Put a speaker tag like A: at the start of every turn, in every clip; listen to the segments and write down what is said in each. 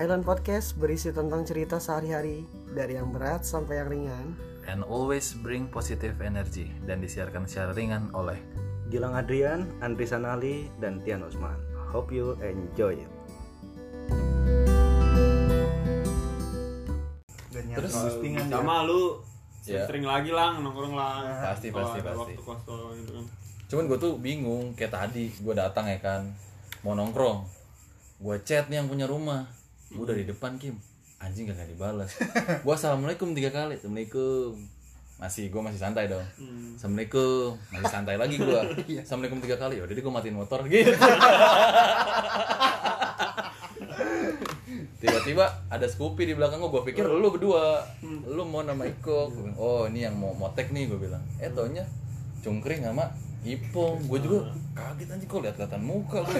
A: Island Podcast berisi tentang cerita sehari-hari dari yang berat sampai yang ringan.
B: and always bring positive energy dan disiarkan secara ringan oleh
C: Gilang Adrian, Andri Sanali, dan Tian Usman. Hope you enjoy it.
D: Terus
E: sama lu
B: Ya.
E: sering lagi lang nongkrong lang
B: Pasti,
E: Kalau
B: pasti,
E: ada
B: pasti.
E: waktu kosong gitu kan
B: cuman gue tuh bingung kayak tadi gue datang ya kan mau nongkrong gue chat nih yang punya rumah gue dari depan Kim anjing gak, gak dibalas gue assalamualaikum tiga kali assalamualaikum masih gue masih santai dong assalamualaikum masih santai lagi gue assalamualaikum tiga kali yaudah deh gue matiin motor gitu tiba-tiba ada Scoopy di belakang gue gue pikir lu berdua lu mau nama Iko Gua bilang, oh ini yang mau motek nih gue bilang eh taunya cungkring sama Ipong gue juga kaget anjing kok lihat-lihatan muka gue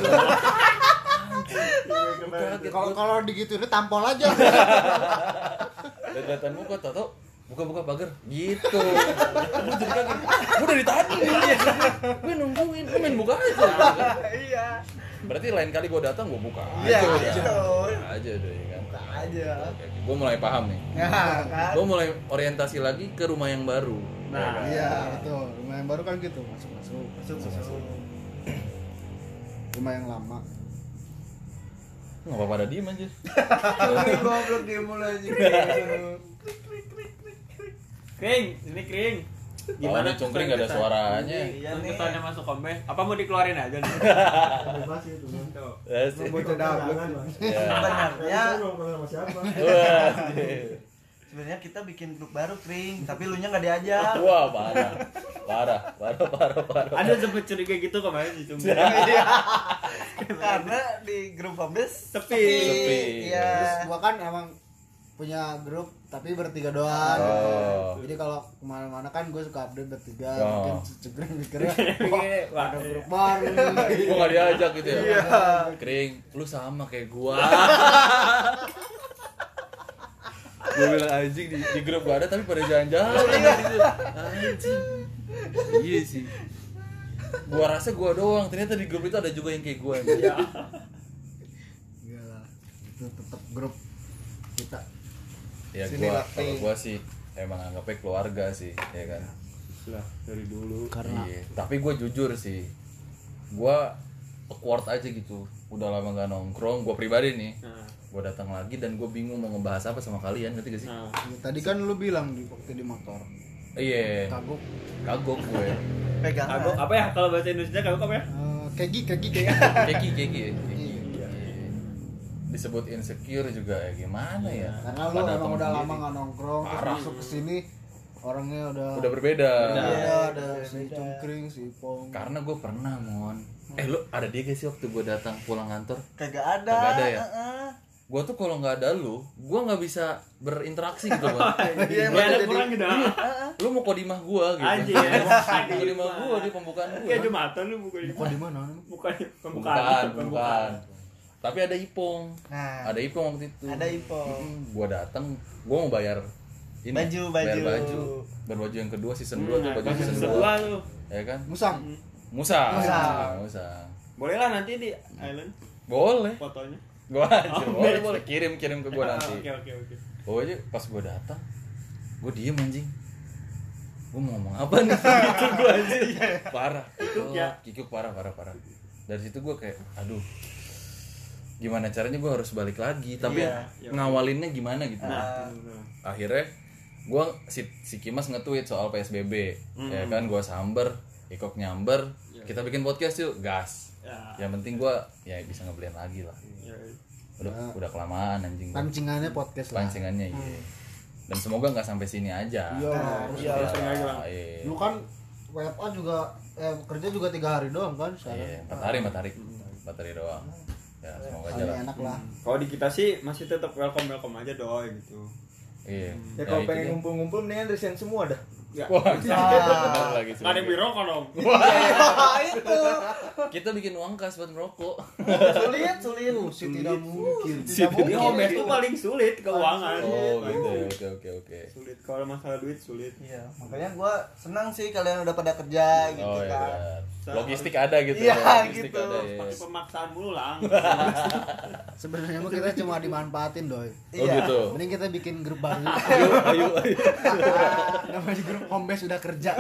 B: kaget
D: Kalau kalau digituin tampol aja.
B: lihat-lihatan muka tau tau buka-buka pagar gitu gue jadi kaget gue dari tadi gue nungguin gue main buka aja
A: Iya.
B: berarti lain kali gue datang gue buka aja
A: Iya,
B: ya.
A: betul.
B: Buka aja deh ya kan
A: Buka aja.
B: gue mulai paham nih
D: Nah,
A: kan?
B: gue mulai orientasi lagi ke rumah yang baru Ya kan?
D: iya betul. Rumah yang baru kan gitu masuk masuk.
A: Masuk, masuk.
D: Rumah yang lama.
B: nggak apa-apa ada diem aja
A: Ini goblok dia mulai aja.
E: kering ini kering
B: Gimana oh, cungkring gak ada suaranya
A: Iya nih.
E: Tuntutannya masuk kombes, apa mau dikeluarin aja nih?
F: bebas itu kan
B: Asik.
D: Bocah dablek.
B: Ya.
A: Sebenarnya
F: sama siapa
B: Wah, asik.
A: sebenarnya kita bikin grup baru kering, tapi lu nya nggak diajak.
B: Wah, parah parah parah parah parah
E: Ada sempet curiga gitu kemarin di Cungkring.
A: Karena di grup Hombes
E: Sepi.
B: Sepi.
G: Eh.
D: Terus
A: Iya.
D: gua kan emang punya grup tapi bertiga doang.
B: Oh.
D: Jadi kalau kemana-mana kan gue suka update bertiga,
B: Oh.
D: mungkin cegering mikirnya
E: Wah,
D: ada grup baru.
B: gua gak diajak gitu ya
D: Iya.
B: kering lu sama kayak gua gua bilang anjing di, di grup gak ada tapi pada jalan-jalan
D: Iya.
B: gitu. anjing iya sih gua rasa gua doang ternyata di grup itu ada juga yang kayak gua emang.
D: Iya. Gila. Iya Itu tetap grup kita.
B: ya
D: Sini
B: gua
D: lah,
B: kalau
D: Ping.
B: gua sih emang anggapnya keluarga sih ya kan
E: Lah, dari dulu.
B: Iya, tapi gue jujur sih gue awkward aja gitu udah lama gak nongkrong gue pribadi nih
E: Nah,
B: gue datang lagi dan gue bingung mau ngebahas apa sama kalian ngerti gak sih
E: nah.
D: Ya, tadi kan lu bilang di waktu di motor.
B: iya
D: Kagok
B: kagok gue
E: Kagok
A: Pegangan.
E: apa ya kalau bahasa Indonesia kagok apa ya?
D: eh, kegi kegi kayak
B: keki keki ya? Keki. Iya. disebut insecure juga ya gimana ya
D: Karena lu
B: Padahal
D: emang
B: temen
D: udah lama
B: sendiri.
D: nggak nongkrong, terus
B: Parah.
D: masuk ke sini orangnya udah
B: udah berbeda
D: Iya, ada si cungkring, si pong.
B: karena gue pernah mon eh lu ada dia gak sih waktu gue datang pulang kantor
A: Kagak ada.
B: Kagak ada ya?
D: uh-uh.
A: Heeh.
B: gue tuh kalau nggak ada lu gue nggak bisa berinteraksi gitu Mon.
E: Iya, ada kurang gitu.
B: lu mau kodimah gua gitu
E: Anjir.
B: Mau kodimah gua di pembukaan gua
E: Kayak Jumatan lu bukan
D: Kok di mana?
E: bukan
B: pembukaan
E: pembukaan.
B: pembukaan tapi ada ipong
A: Nah,
B: ada ipong waktu itu
A: ada info.
B: Mm, gua datang gua mau bayar ini
A: Baju,
B: bayar
A: baju.
B: baju bayar baju yang kedua season 2 tuh
E: Nah,
B: baju
E: bahasa
B: season
E: kedua
B: 2
E: lu.
B: ya kan
D: Musang.
B: musang
A: Musang.
B: musang
E: Boleh lah nanti di Island
B: boleh
E: fotonya.
B: gua anjir,
E: Oh,
B: boleh
E: bet.
B: boleh kirim kirim ke gua nanti
E: Oke, oke, oke.
B: Bawa aja pas gue datang, gue diem anjing. Gue mau ngomong apa nih? gitu gue anjing. Parah. Kikuk
E: Iya, ya.
B: Kikuk parah parah parah. Dari situ gue kayak, aduh. Gimana caranya gue harus balik lagi? Tapi
E: Iya.
B: ngawalinnya gimana gitu?
E: Nah,
B: Akhirnya gue si, si Kimas nge-tweet soal PSBB, ya
E: Hmm.
B: kan? Gue samber, Ikok nyamber,
E: Iya.
B: kita bikin podcast yuk, gas.
E: ya.
B: Yang penting gue ya bisa ngebelian lagi lah.
E: ya.
B: Udah, udah kelamaan anjing. gua.
D: Nah, Pancingannya podcast lah.
B: pancingannya iya dan semoga nggak sampai sini aja
D: Iya.
B: iya
D: Lu kan WFA juga eh, kerja juga tiga hari doang kan
B: iya
D: sekarang.
B: empat hari empat hari empat hari doang ya semoga aja
D: Ini
B: lah
D: enak lah.
E: Kalau di kita sih masih tetap welcome welcome aja doy gitu.
B: iya
F: ya kalau
B: itu
F: pengen
B: dia.
F: ngumpul-ngumpul mendingan resign semua dah
E: Ya.
B: wah benar lagi sih
E: Nggak ada yang beli rokok dong.
A: Wah, itu
B: kita bikin uang kas buat merokok
A: sulit, sulit.
D: mungkin si tidak mungkin
B: Si
D: tidak
E: Di
D: mungkin
E: Homes tuh paling sulit keuangan.
B: Oh gitu ya, oke oke oke.
E: Sulit kalau masalah duit sulit.
D: iya makanya gua senang sih kalian udah pada kerja gitu
B: Oh ya
D: kan
B: benar. Logistik ada gitu
D: Iya,
B: logistik
D: gitu.
B: ada ya.
E: Pakai pemaksaan mulu lang.
G: Sebenarnya mah kita cuma dimanfaatin doi.
D: Iya.
B: Oh gitu.
G: Mending kita bikin grup baru. Namanya di grup kombes udah kerja.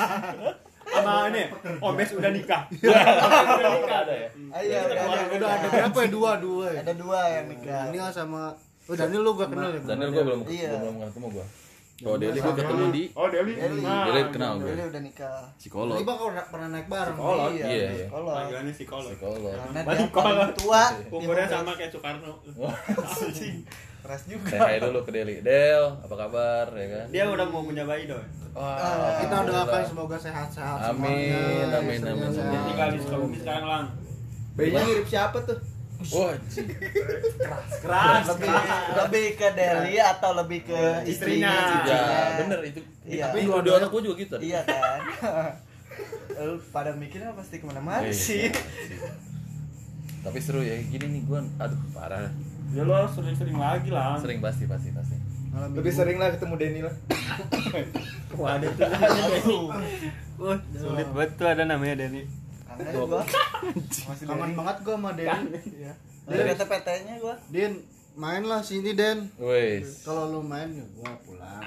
E: Sama ini, Homes udah nikah. Homes udah nikah ada ya. Kita
D: ayo Iya, udah
E: keluarga
D: ada
E: doang.
G: Ada berapa ya? Dua, dua ya.
D: ada dua yang nikah
G: Daniel sama Oh Daniel lu gak kenal ya?
B: Daniel gue belum
D: Iya.
B: gua belum ketemu gue. Oh Deli gue ketemu di
E: Oh, Deli.
D: Deli.
E: Nah,
B: Deli kenal gue.
D: Dulu udah nikah
B: Psikolog.
G: Tiba kau na- pernah naik bareng.
E: Kolot.
D: iya
B: Iya, iya.
D: sekolah
E: Panggilannya psikolog.
B: Psikolog.
D: karena
E: Balik
D: dia paling
E: kolot.
D: tua
E: Umurnya sama kayak Soekarno.
D: keras juga
B: Saya hai dulu ke Deli. Del, apa kabar ya kan?
E: Dia udah mau punya bayi doi.
B: Wah,
G: Kita
B: alhamdulillah.
G: doakan semoga sehat-sehat semuanya.
B: Amin, amin,
G: istrinya sehat.
B: amin,
E: Dia
B: amin.
E: tinggal di Sukabumi sekarang lang.
F: Bayinya mirip siapa tuh?
B: Wah,
D: Iya.
B: cik.
E: Keras,
D: lebih
E: keras.
D: lebih ke Deli atau lebih ke
E: Istrinya.
D: istrinya
B: ya
D: istrinya.
B: bener itu.
D: Iya.
B: Tapi
D: Tapi
B: dua dua anak gue juga gitu.
D: iya kan lu pada mikirnya pasti kemana-mana
B: Iya,
D: sih
B: sih. Tapi seru ya, gini nih gue, aduh parah,
E: Ya lo harus sering-sering lagi lang.
B: sering pasti pasti pasti.
G: Malam
F: Lebih
G: minggu.
F: sering lah ketemu Denny lah.
E: Waduh, itu namanya Denny. Wah, sulit banget tuh ada namanya Denny.
D: kangen gua masih
G: Kangen
D: dari
G: banget gua sama Den. Iya.
D: dari PT-nya gua
G: Din, main lah sini Den.
B: Wes.
G: Kalau lu main ya gua pulang.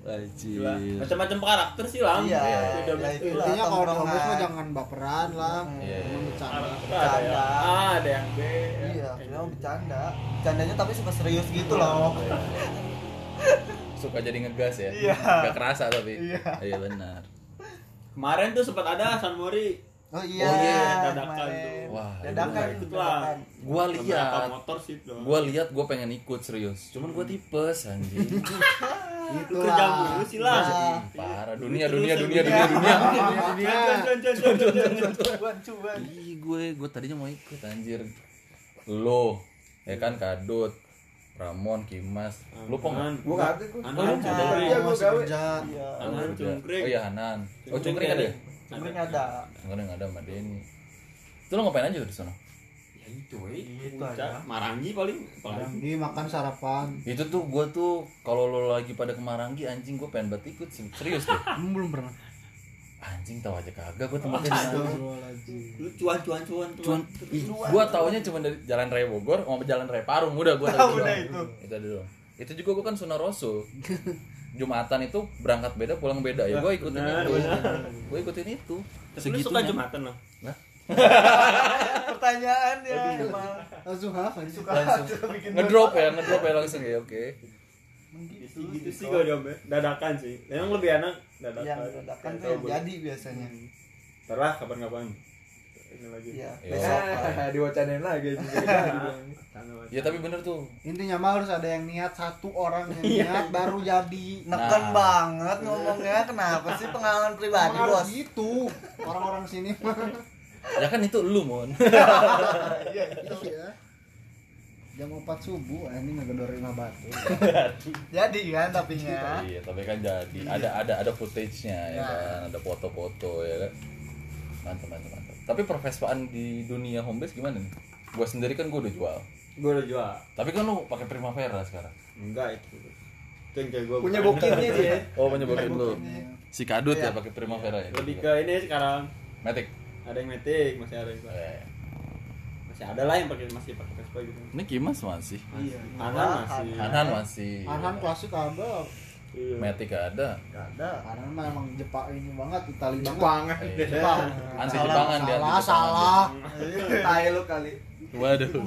B: Wajib. Iya.
E: Gila. Macam-macam karakter sih lang.
D: Iya,
E: Beda
D: iya,
E: mesti.
D: itulah.
G: Intinya kalau di
D: tongkrongan.
G: kampus mah jangan baperan lah.
B: Iya, iya.
G: Emang bercanda.
E: Karakter ada yang A, ada yang B. ya.
D: iya dia mau bercanda bercandanya tapi suka serius gitu loh
B: Suka jadi ngegas ya.
D: Iya.
B: Gak kerasa tapi. Iya. benar.
E: Kemarin tuh sempat ada San Mori.
D: oh iya
B: Oh, iya,
E: dadakan
D: kemarin.
B: tuh. Wah,
D: dadakan
E: itu
D: itu
E: lah.
D: dadakan
B: Gua
E: Beberapa
B: lihat,
E: motor sih dong.
D: Iya.
B: gua lihat gua pengen ikut serius. Cuman gua tipes anjing.
G: Gitu
E: Lu kerja
G: lah.
E: mulu sih Iya. lah.
D: Iya.
B: Ih, Parah dunia dunia dunia dunia dunia.
E: Iya.
D: cuan cuan
B: Ih, gue gue tadinya mau ikut anjir. Lo ya kan Kadut, Ramon, Kimas, lu pengen
F: Gua kagak gua.
E: Anak
D: Iya.
E: ada.
G: Iya, gua masih
F: gawe.
G: kerja.
D: iya
E: Anak cungkring.
B: Oh iya Hanan. Oh cungkring ada ya?
D: cuma ada
B: Cungkring ada sama Denny. Itu lo ngapain aja di sana?
E: Ya itu, woy.
D: Gitu
E: Puncak. Iya.
D: aja.
E: Marangi paling paling.
G: Ini makan sarapan.
B: Itu tuh gue tuh kalau lo lagi pada ke Maranggi anjing gue pengen banget ikut sih. serius tuh.
G: Emang belum pernah.
B: Anjing tahu aja kagak gue tempatnya di sana.
G: Astagfirullahaladzim.
E: Lu cuan cuan cuan
B: Cuman ih, gue taunya cuma dari Jalan Raya Bogor sama Jalan Raya Parung udah gue tahu itu. Itu ada doang. Itu juga gue kan Sunnah Rasul. Jumatan itu berangkat beda pulang beda ya gue ikutin
E: benar,
B: itu.
E: benar.
B: Gue ikutin itu.
E: Tapi lu suka jumatan loh.
B: Lah,
D: pertanyaan ya emang
G: iya. Langsung hafal.
B: langsung ngedrop ya ngedrop ya langsung ya oke.
E: Gitu, gitu sih gue diambil dadakan sih. Emang lebih enak dadakan.
D: yang Iya, dadakan tuh
E: Tahu
D: yang
E: gua.
D: jadi biasanya
G: Hmm.
E: Ntar lah kapan-kapan. Ini lagi. gitu.
D: iya
G: Ya.
B: Iya.
D: besok lah.
F: Ah, diwacanain lagi
B: Ya tapi bener tuh.
G: Intinya mah harus ada yang niat satu orang yang niat baru jadi.
D: Iya. neken
B: Nah.
D: banget ngomongnya kenapa sih pengalaman
G: Emang
D: pribadi
G: harus
D: bos
G: gitu. Orang-orang sini mah.
B: Ya kan itu lu mon.
D: gitu.
G: Iya. Jam 4 subuh eh, ini ngegedorin batu.
D: jadi kan tapinya
B: Iya, tapi kan jadi ada ada ada footage-nya ya kan, ada foto-foto ya kan. Mantap, mantap, mantap. Tapi pervespaan di dunia homebase gimana nih? Gua sendiri kan gua udah jual.
E: Gue udah jual.
B: Tapi kan lu pakai Primavera sekarang.
E: Enggak itu. Itu yang kayak gue.
F: Punya bokinnya dia.
B: Oh, menyebutin lu. Si Kadut ya pakai Primavera ya.
E: Iya. Lebih ke ini sekarang.
B: Matic.
E: Ada yang metik, masih ada yang
B: Eh,
E: masih ada lah yang pakai masih pakai Vespa gitu.
B: Ini Kimas masih.
E: Iya. Anan masih.
B: Hanan masih.
G: Arhan klasik ada.
E: Iya.
B: Matic ada.
G: Ada. Arhan mah emang Jepang ini banget, Itali banget.
F: Jepangan.
B: Eh,
G: Jepang.
B: Anti Jepangan
G: Salah,
B: dia. anti Jepangan
G: salah.
F: Tai lu kali.
B: dia. Waduh.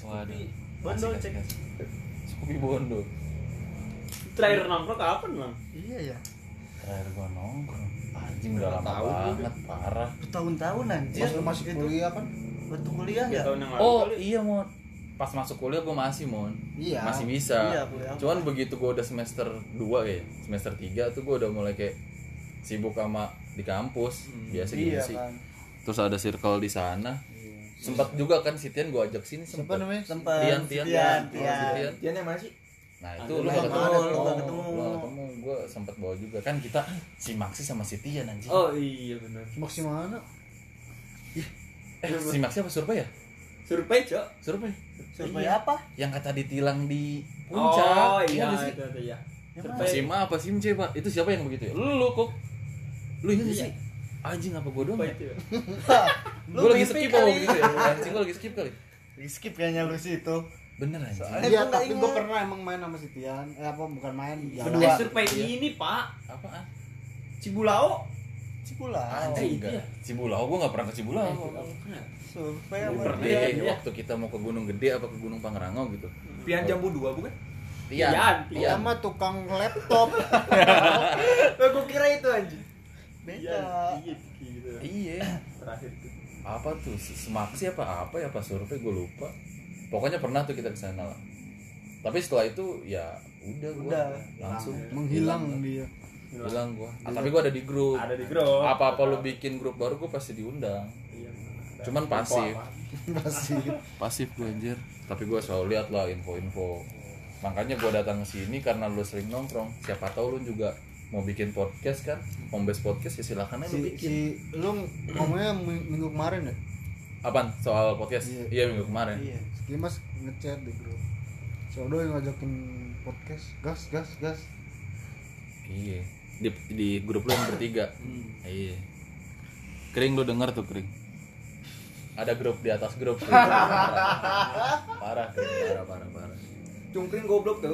B: Waduh.
E: Bondo,
B: Asik,
E: cek.
B: asik, asik. Scoopy Bondo.
E: Terakhir nongkrong kapan bang?
G: Iya ya.
B: Terakhir gua nongkrong. Anjing udah lama
E: Tahu gua.
B: banget, parah.
D: bertahun-tahun anjir
G: Mas lu masih kuliah kan?
D: waktu kuliah
E: Ya
D: ya
E: tahun yang lalu.
B: Oh
E: kali.
B: iya mon, pas masuk kuliah gue masih mon,
G: Iya.
B: masih bisa.
D: Iya, kuliah.
B: Cuman begitu gue udah semester 2 ya, semester 3 tuh gue udah mulai kayak sibuk sama di kampus biasa gitu
G: Iya
B: sih.
G: kan.
B: Terus ada circle di sana. Sempat juga kan Sitian gue ajak sini
G: Siapa
B: sempat.
G: namanya?
D: sempat
B: Tian, Tian,
D: Tian,
B: Oh,
D: Tian.
B: Tian.
F: Dia yang mana sih?
B: Nah itu lu
E: Aduh,
B: gak
D: lu
B: ketemu,
D: nggak
B: lu gak ketemu,
D: ketemu.
B: gue sempat bawa juga kan kita si Maxi sama si Tian anjing.
E: Oh iya benar.
G: Maksi mana?
B: Eh, si Maxi apa survei ya?
E: Survei, Cok.
B: Survei.
E: Survei
D: Iya.
E: apa?
B: Yang kata ditilang di
E: Oh,
B: puncak.
E: iya,
B: Ingat nggak sih?
E: itu, itu, iya.
B: Survei. Sim A apa Sim C, Pak? Itu siapa yang begitu ya? Lu kok. Iya. Lu ingat nggak sih? Anjing apa gua doang?
E: Survei
B: ya?
E: itu. iya.
B: Gua lagi skip apa gitu ya? Anjing gua lagi skip kali.
D: skip kayaknya lu sih itu
B: Bener anjing.
D: iya tapi gue pernah emang main sama si Tian eh apa bukan main
B: Iya.
D: jalan
E: Eh, survei ini, Pak.
B: Apaan?
E: Cibulao.
D: Cipula
B: Anjing
E: itu ya.
B: enggak. Cibulau Iya. Eh, gua enggak pernah ke Cibulau.
D: survei
B: Gua
D: apa
B: pernah
E: Iya,
B: deh,
E: iya.
B: waktu kita mau ke Gunung Gede apa ke Gunung Pangrango gitu.
E: Hmm.
B: Iya.
H: Pian jambu dua bukan?
B: Tian,
E: Tian,
B: Tian.
D: sama tukang laptop
E: Eh,
H: Lah gua kira itu anjing.
D: beda
E: iya, gitu.
B: Iya.
H: Terakhir tuh.
B: Apa tuh? Se- Semaksi apa apa ya pas survei gue lupa. Pokoknya pernah tuh kita ke sana lah. Tapi setelah itu ya udah gua
D: Udah.
B: langsung
D: menghilang dia
B: hilang gua. Ah, tapi gua ada di grup.
H: Ada di grup.
B: Apa-apa lu bikin grup baru gua pasti diundang. Cuman pasif.
D: masih
B: Pasif gua anjir. Tapi gua selalu lihat lah info-info. Makanya gua datang ke sini karena lu sering nongkrong. Siapa tahu lu juga mau bikin podcast kan? Hombes podcast ya silakan aja lu
D: si
B: bikin.
D: si lu ngomongnya mi- minggu kemarin ya
B: Apaan? Soal podcast?
D: Iya.
B: Iya minggu kemarin.
D: iya si Dimas ngechat di grup si Odo yang ngajakin podcast gas gas gas
B: Iya. Di, di grup lu yang bertiga. Iya. Kering lu denger tuh kering. Ada grup di atas grup. Kering. parah, parah, kering. parah, parah, parah.
H: Cungkring goblok tuh.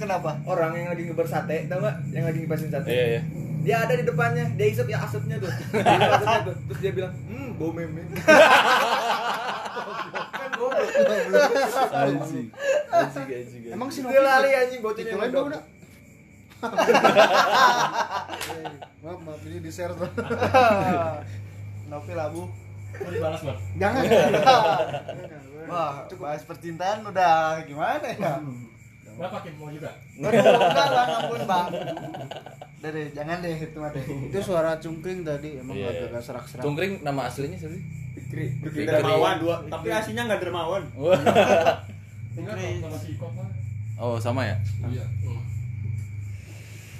D: kenapa
H: Orang yang lagi ngebar sate, tau gak? Yang lagi ngipasin sate.
B: Iya, iya.
H: Dia ada di depannya, dia isep ya asapnya tuh. Dia isep asapnya tuh. Terus dia bilang, "Hmm, bau meme." kan goblok.
B: Anjing. Anjing, anjing, anjing.
D: emang si
H: Dia lali anjing bocilnya.
D: itu lain
H: ngendok.
D: udah maaf maaf ini di share tuh Novi labu
E: Mau dibalas, Bang?
D: jangan wah bahas percintaan udah gimana ya
E: Berapa Kim mau juga?
D: Aduh, enggak lah, ampun bang. Udah deh, jangan deh itu mah deh. Itu suara cungkring tadi emang
B: Iya.
D: agak agak serak-serak.
B: Cungkring nama aslinya siapa sih?
H: Fikri, Fikri.
B: Fikri.
E: Dermawan dua, tapi aslinya nggak dermawan.
D: Fikri,
B: Oh, sama ya?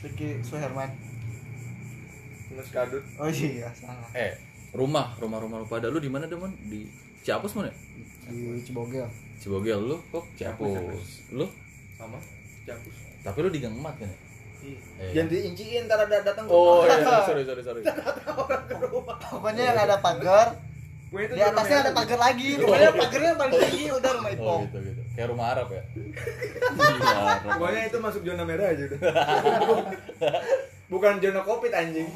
D: Fikri Suherman.
H: Nus kadut.
D: Oh iya, salah.
B: Eh, rumah, rumah, rumah lu pada lu di mana, Demon? Di Ciapus mana? ya?
D: Di Cibogel.
B: Cibogel lu kok Ciapus. Lu?
H: Sama. Jakus.
B: Tapi lu di Gang Emat kan? ya? Iya.
H: Jangan diinciin ntar ada datang ke
B: Oh,
H: rumah.
B: iya, sorry, sorry, sorry.
D: Pokoknya yang ada pagar,
H: Gue itu
D: di atasnya ada
H: pagar
D: pagar lagi. Pokoknya pagarnya yang paling tinggi udah rumah
B: Oh,
D: Ipong.
B: gitu, gitu. Kayak rumah Arab ya?
H: Pokoknya itu masuk zona merah aja udah. Bukan zona Covid anjing.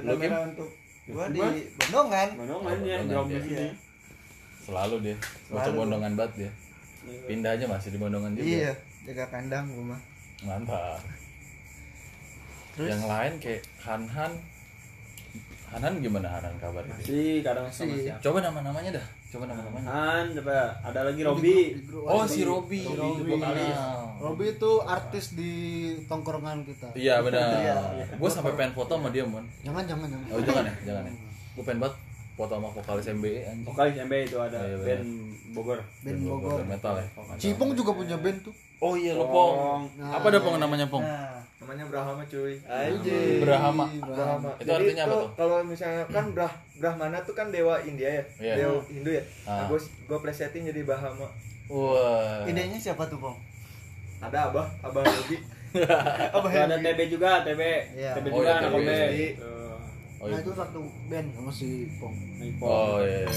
B: Lu, Kim?
D: untuk gua di Bondongan.
E: Bondongan
B: Oh,
E: ya,
B: Bondongan,
E: jauh
B: iya.
E: sini.
B: Selalu dia. Bocah
D: Selalu.
B: bondongan banget dia. Pindah aja masih di bondongan juga.
D: Iya, jaga kandang gua mah.
B: Mantap. Yang lain kayak Hanhan. Hanhan gimana Hanhan kabarnya?
E: Si kadang sama
D: Si.
E: siapa?
B: Coba nama-namanya dah. Coba nama-namanya.
E: Han, coba ada lagi Robi.
B: Oh, si Robi.
D: Si
B: Robi
D: Robi.
B: gua kenal.
D: Robi itu artis di tongkrongan kita.
B: Iya benar.
D: Iya.
B: Gue sampai pengen foto sama dia mon.
D: Jangan jangan jangan.
B: Oh jangan ya, jangan ya. Gue pengen banget foto sama vokalis MBE anjing.
E: Vokalis MB itu ada
B: Iya, benar.
E: band Bogor.
D: Band Bogor.
B: metal ya.
D: Cipong juga punya band tuh.
B: Oh iya lo Pong.
D: Nah,
B: Apa ada Pong namanya Pong?
D: Nah,
H: Namanya Brahma cuy.
D: Anjing.
B: Brahma.
D: Brahma.
B: Itu artinya apa tuh?
H: Kalau misalnya kan Brah Brahmana tuh kan dewa India ya,
B: Iya.
H: dewa Hindu ya.
B: Ah.
H: Nah, gue gue plesetin jadi Bahama.
B: Wah.
D: Idenya siapa tuh, Bang?
H: Ada abah, abah Robi.
E: Tuh ada TB juga, TB.
D: Iya.
E: TB
B: Oh,
E: juga
B: iya,
E: anak
B: TB.
E: Robi. Gitu.
H: Jadi,
B: Oh,
D: nah,
B: iya.
D: itu satu band sama si Pong.
B: Oh iya.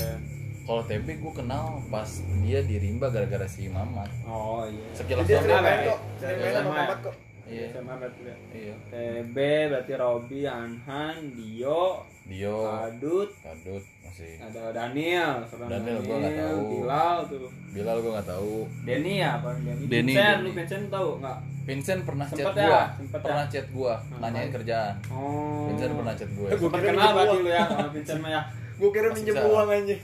B: Kalau TB gue kenal pas dia di Rimba gara-gara si Mamat.
E: Oh iya.
B: Sekilas
H: dia
B: sama
H: sering
E: Sama,
H: main
E: ya?
H: kok, sering main sama
E: Sama.
H: Mamat kok.
B: Iya.
E: SMA berarti ya.
B: Iya.
E: TB berarti Robi, Anhan, Dio,
B: Dio,
E: Kadut,
B: Kadut masih.
E: ada Daniel, seorang
B: Daniel, gua nggak tahu.
E: Bilal tuh.
B: Bilal gue nggak tahu.
E: Denny ya, apa Denny?
B: Denny,
E: Vincent,
B: Denny.
E: lu Vincent tahu nggak?
B: Vincent pernah chat
E: Sempet ya,
B: gua,
E: sempet ya.
B: pernah chat gua, nanyain kerjaan.
E: Oh.
B: Vincent pernah chat gua.
E: Sempat kenal berarti lu ya, sama Vincent mah ya.
H: Gue kira
B: Masih
H: minjem
B: bisa.
H: uang anjing.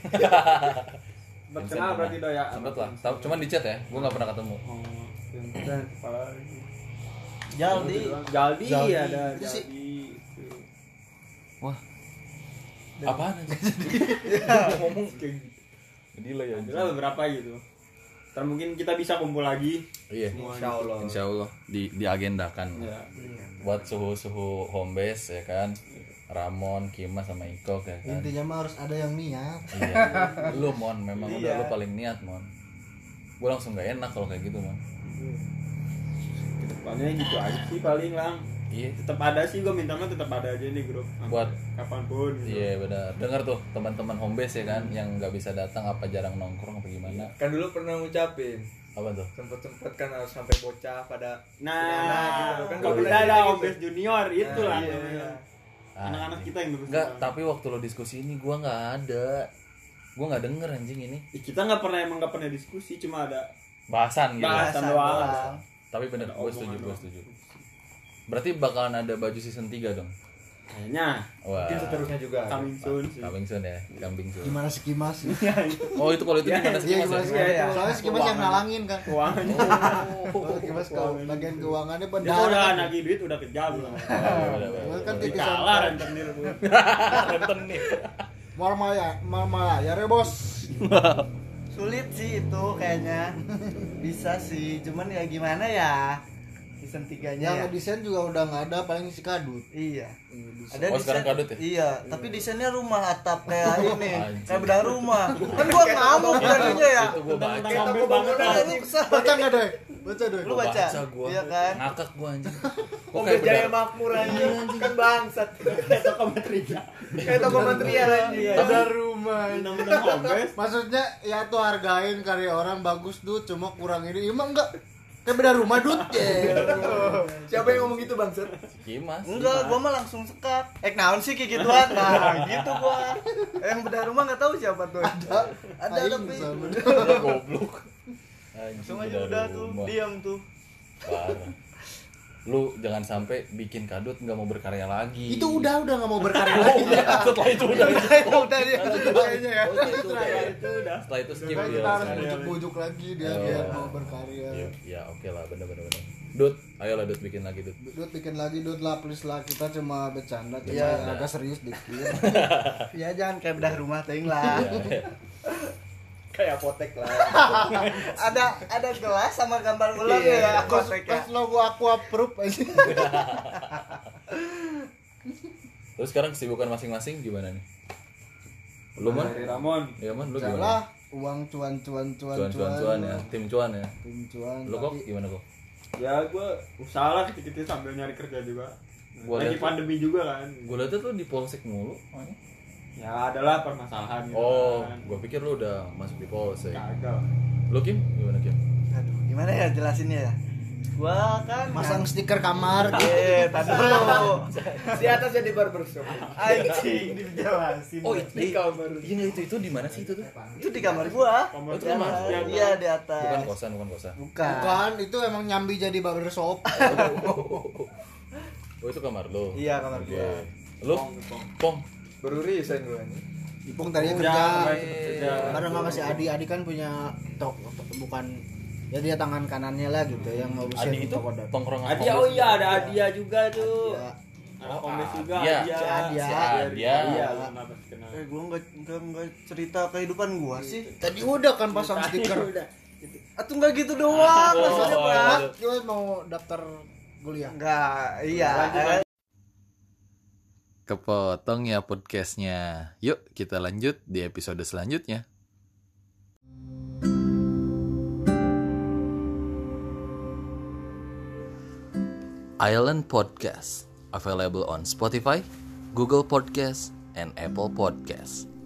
E: Sempat kenal berarti do ya.
B: Sempet lah. Tapi cuman di chat ya, gua nggak pernah ketemu.
E: Oh, Vincent kepala lagi.
D: Jaldi.
E: Jaldi,
D: Jaldi.
E: ada
D: Itu sih.
E: Jaldi.
B: Wah. Apaan aja? Ngomong kayak gitu. Jadi lah ya.
E: Ada beberapa gitu. Ntar mungkin kita bisa kumpul lagi.
B: Iya.
H: Insya Allah.
B: Insya Allah di diagendakan.
E: Ya.
B: buat suhu-suhu home base ya kan Ramon, Kima sama Iko ya kan.
D: intinya mah harus ada yang niat
B: Iya. Lu Mon memang udah lu paling niat Mon. Gua langsung gak enak kalau kayak gitu Mon.
E: Kedepannya gitu aja sih paling lang.
B: Iya.
E: Tetap ada sih gue minta mah tetap ada aja nih grup. Sampai
B: Buat-
E: kapanpun. gitu.
B: Iya benar. Dengar tuh teman-teman homebase ya kan yang nggak bisa datang apa jarang nongkrong apa gimana.
F: kan dulu pernah ngucapin
B: Apa tuh?
F: sempet sempet kan harus sampai bocah pada
E: Nah,
F: gitu. Kan
E: kalau
F: kalau
E: udah
F: udah
E: ada
F: gitu.
E: Ombes Junior itu lah.
F: iya,
E: namanya.
F: iya.
B: Ah,
E: Anak-anak
B: iya.
E: kita yang ngurus
B: Nggak,
E: kita.
B: tapi waktu lo diskusi ini gua nggak ada. Gua nggak denger anjing ini.
E: Ih, kita nggak pernah emang nggak pernah diskusi cuma ada
B: Bahasan gitu.
E: bahasan doang.
B: Tapi bener,
E: Ada
B: gue
E: omongan
B: setuju, gue
E: doang.
B: setuju. Berarti bakalan ada baju season 3 dong.
E: Kayaknya
B: Wah.
E: Iya,
F: mungkin seterusnya juga
E: coming
B: Iya.
E: soon sih.
B: Coming soon ya, kambing soon.
D: gimana sih kimas
B: Oh itu kalau itu gimana sih?
D: Iya
B: Mas?
D: gimana sih?
F: Iya, iya.
D: Soalnya si Kimas yang nalangin kan.
B: Oh.
E: Keuangannya.
D: Soalnya Kimas kalau bagian
E: Dia
D: keuangannya
F: Iya.
E: tuh udah
D: benar.
E: nagi duit udah kejam
B: Oh,
E: lah.
B: iya, iya, iya.
D: Kan titisan
E: Dikalah
F: Iya.
E: rentenir bu.
D: normal ya, normal ya, ya bos.
G: sulit sih itu kayaknya bisa sih cuman ya gimana ya season
D: Yang
G: tiganya ya
D: ngedesain juga udah nggak ada, paling si kadut.
G: iya ada
B: Oh, sekarang kadut ya?
G: iya tapi desainnya rumah atap kayak ini
B: Anjing.
G: kayak bedah rumah kan gua ngamuk jadinya ya
B: Itu gue baca.
F: Iya.
E: Tentang mobil banget lah.
D: Baca nggak deh? Baca deh.
G: Lu
B: Gua
G: baca?
B: gua.
G: Iya kan?
B: Ngakak gue anjing. Kok
F: Oke
B: kayak
F: Jaya
B: benar.
F: Makmur aja kan bangsat
E: Kayak toko material.
F: kayak toko material
G: Iya,
F: aja
D: Ada rumah.
E: Menang-menang Ombes.
D: Maksudnya ya tuh hargain karya orang bagus tuh, cuma kurang ini. Emang enggak kayak beda rumah dud
F: siapa yang ngomong gitu bangsat
B: Kimas.
G: enggak gua mah langsung sekat eh naon sih kayak gituan nah gitu gua yang bedah rumah nggak tahu siapa tuh ada ada
D: Aing
G: tapi
D: sama.
B: Gua goblok. Anjing,
G: langsung aja
B: benar
G: udah tuh
B: rumah.
G: diam tuh
B: Parah. Lu jangan sampai bikin kadut nggak mau berkarya lagi.
D: Itu udah udah nggak mau berkarya lagi.
B: Setelah itu udah.
D: Udah dia kayaknya ya.
B: Setelah itu udah.
E: Itu udah.
B: Setelah itu skip
D: Makanya
B: ya.
D: kita harus
B: sekarang.
D: bujuk-bujuk lagi dia
B: Iya.
D: biar mau
B: Iya,
D: berkarya.
B: iya, oke lah, bener bener bener. Dut, ayolah Dut bikin lagi Dut.
D: Dut bikin lagi Dut lah please lah kita cuma bercanda cuma
G: Iya.
D: agak serius dikit. Iya,
G: ya jangan kayak bedah rumah ting lah
F: kayak apotek lah
G: ada ada gelas sama gambar ulang ya
D: Iya. Pas,
G: kotek ya
D: pas logo aku approve aja.
B: Terus sekarang kesibukan masing-masing gimana nih? Lu mon?
F: Iya.
E: Dari Ramon.
B: Ya mon, lu gimana?
D: Jalah uang cuan cuan Iya. cuan
B: Cuan cuan cuan ya, tim cuan ya.
D: Tim cuan.
B: Lu kok
D: tapi-
B: gimana kok?
E: Ya gue usaha lah dikit-dikit sambil nyari kerja juga.
B: Gua
E: Lagi
B: liat-
E: pandemi juga kan.
B: Gue liatnya tuh di polsek mulu.
E: Ya adalah permasalahan gitu
B: Oh,
E: kan.
B: gue pikir lu udah masuk di polsek.
E: Kagak.
B: Lu Kim, gimana Kim?
G: aduh gimana ya jelasinnya ya gua kan
D: Masang stiker kamar. gitu.
G: eh tadi dulu
F: di atas jadi barbershop
G: anjing dijelasin
B: Oh,
F: di
B: itu
F: kamar
B: ini itu itu di mana sih itu tuh?
G: itu di kamar gua
E: Kamar
B: Oh, itu kamar?
G: Jalan. iya di atas
B: Bukan kosan, bukan kosan.
G: bukan,
D: Bukan, itu emang nyambi jadi barbershop.
B: Oh, itu kamar lu.
G: Iya, kamar
B: Oke.
G: gua.
B: Lu? Pong.
F: baru resign gue ini
D: Ipung tadinya
E: Udah,
D: kerja.
E: kemarin ikut kerja.
D: Karena sama si Adi, Adi kan punya tok tok- bukan ya dia tangan kanannya lah gitu yang ngurusin
B: Adi itu
D: toko dadak.
B: tongkrongan.
E: Adia oh iya ada Adia juga tuh.
D: Ya.
E: Ada Kombes juga
B: Iya.
E: Adia.
D: Si Adia.
B: Si Adia.
E: Iya, iya, kenapa sih kenal?
G: eh gua nggak nggak nggak cerita kehidupan gua sih
D: Tadi udah kan pasang stiker.
G: atau nggak gitu doang maksudnya
B: Oh,
G: Bang.
B: aduh.
D: Kita mau daftar kuliah.
G: nggak iya eh,
B: Kepotong ya podcastnya. Yuk kita lanjut di episode selanjutnya. Island Podcast available on Spotify, Google Podcast, and Apple Podcast.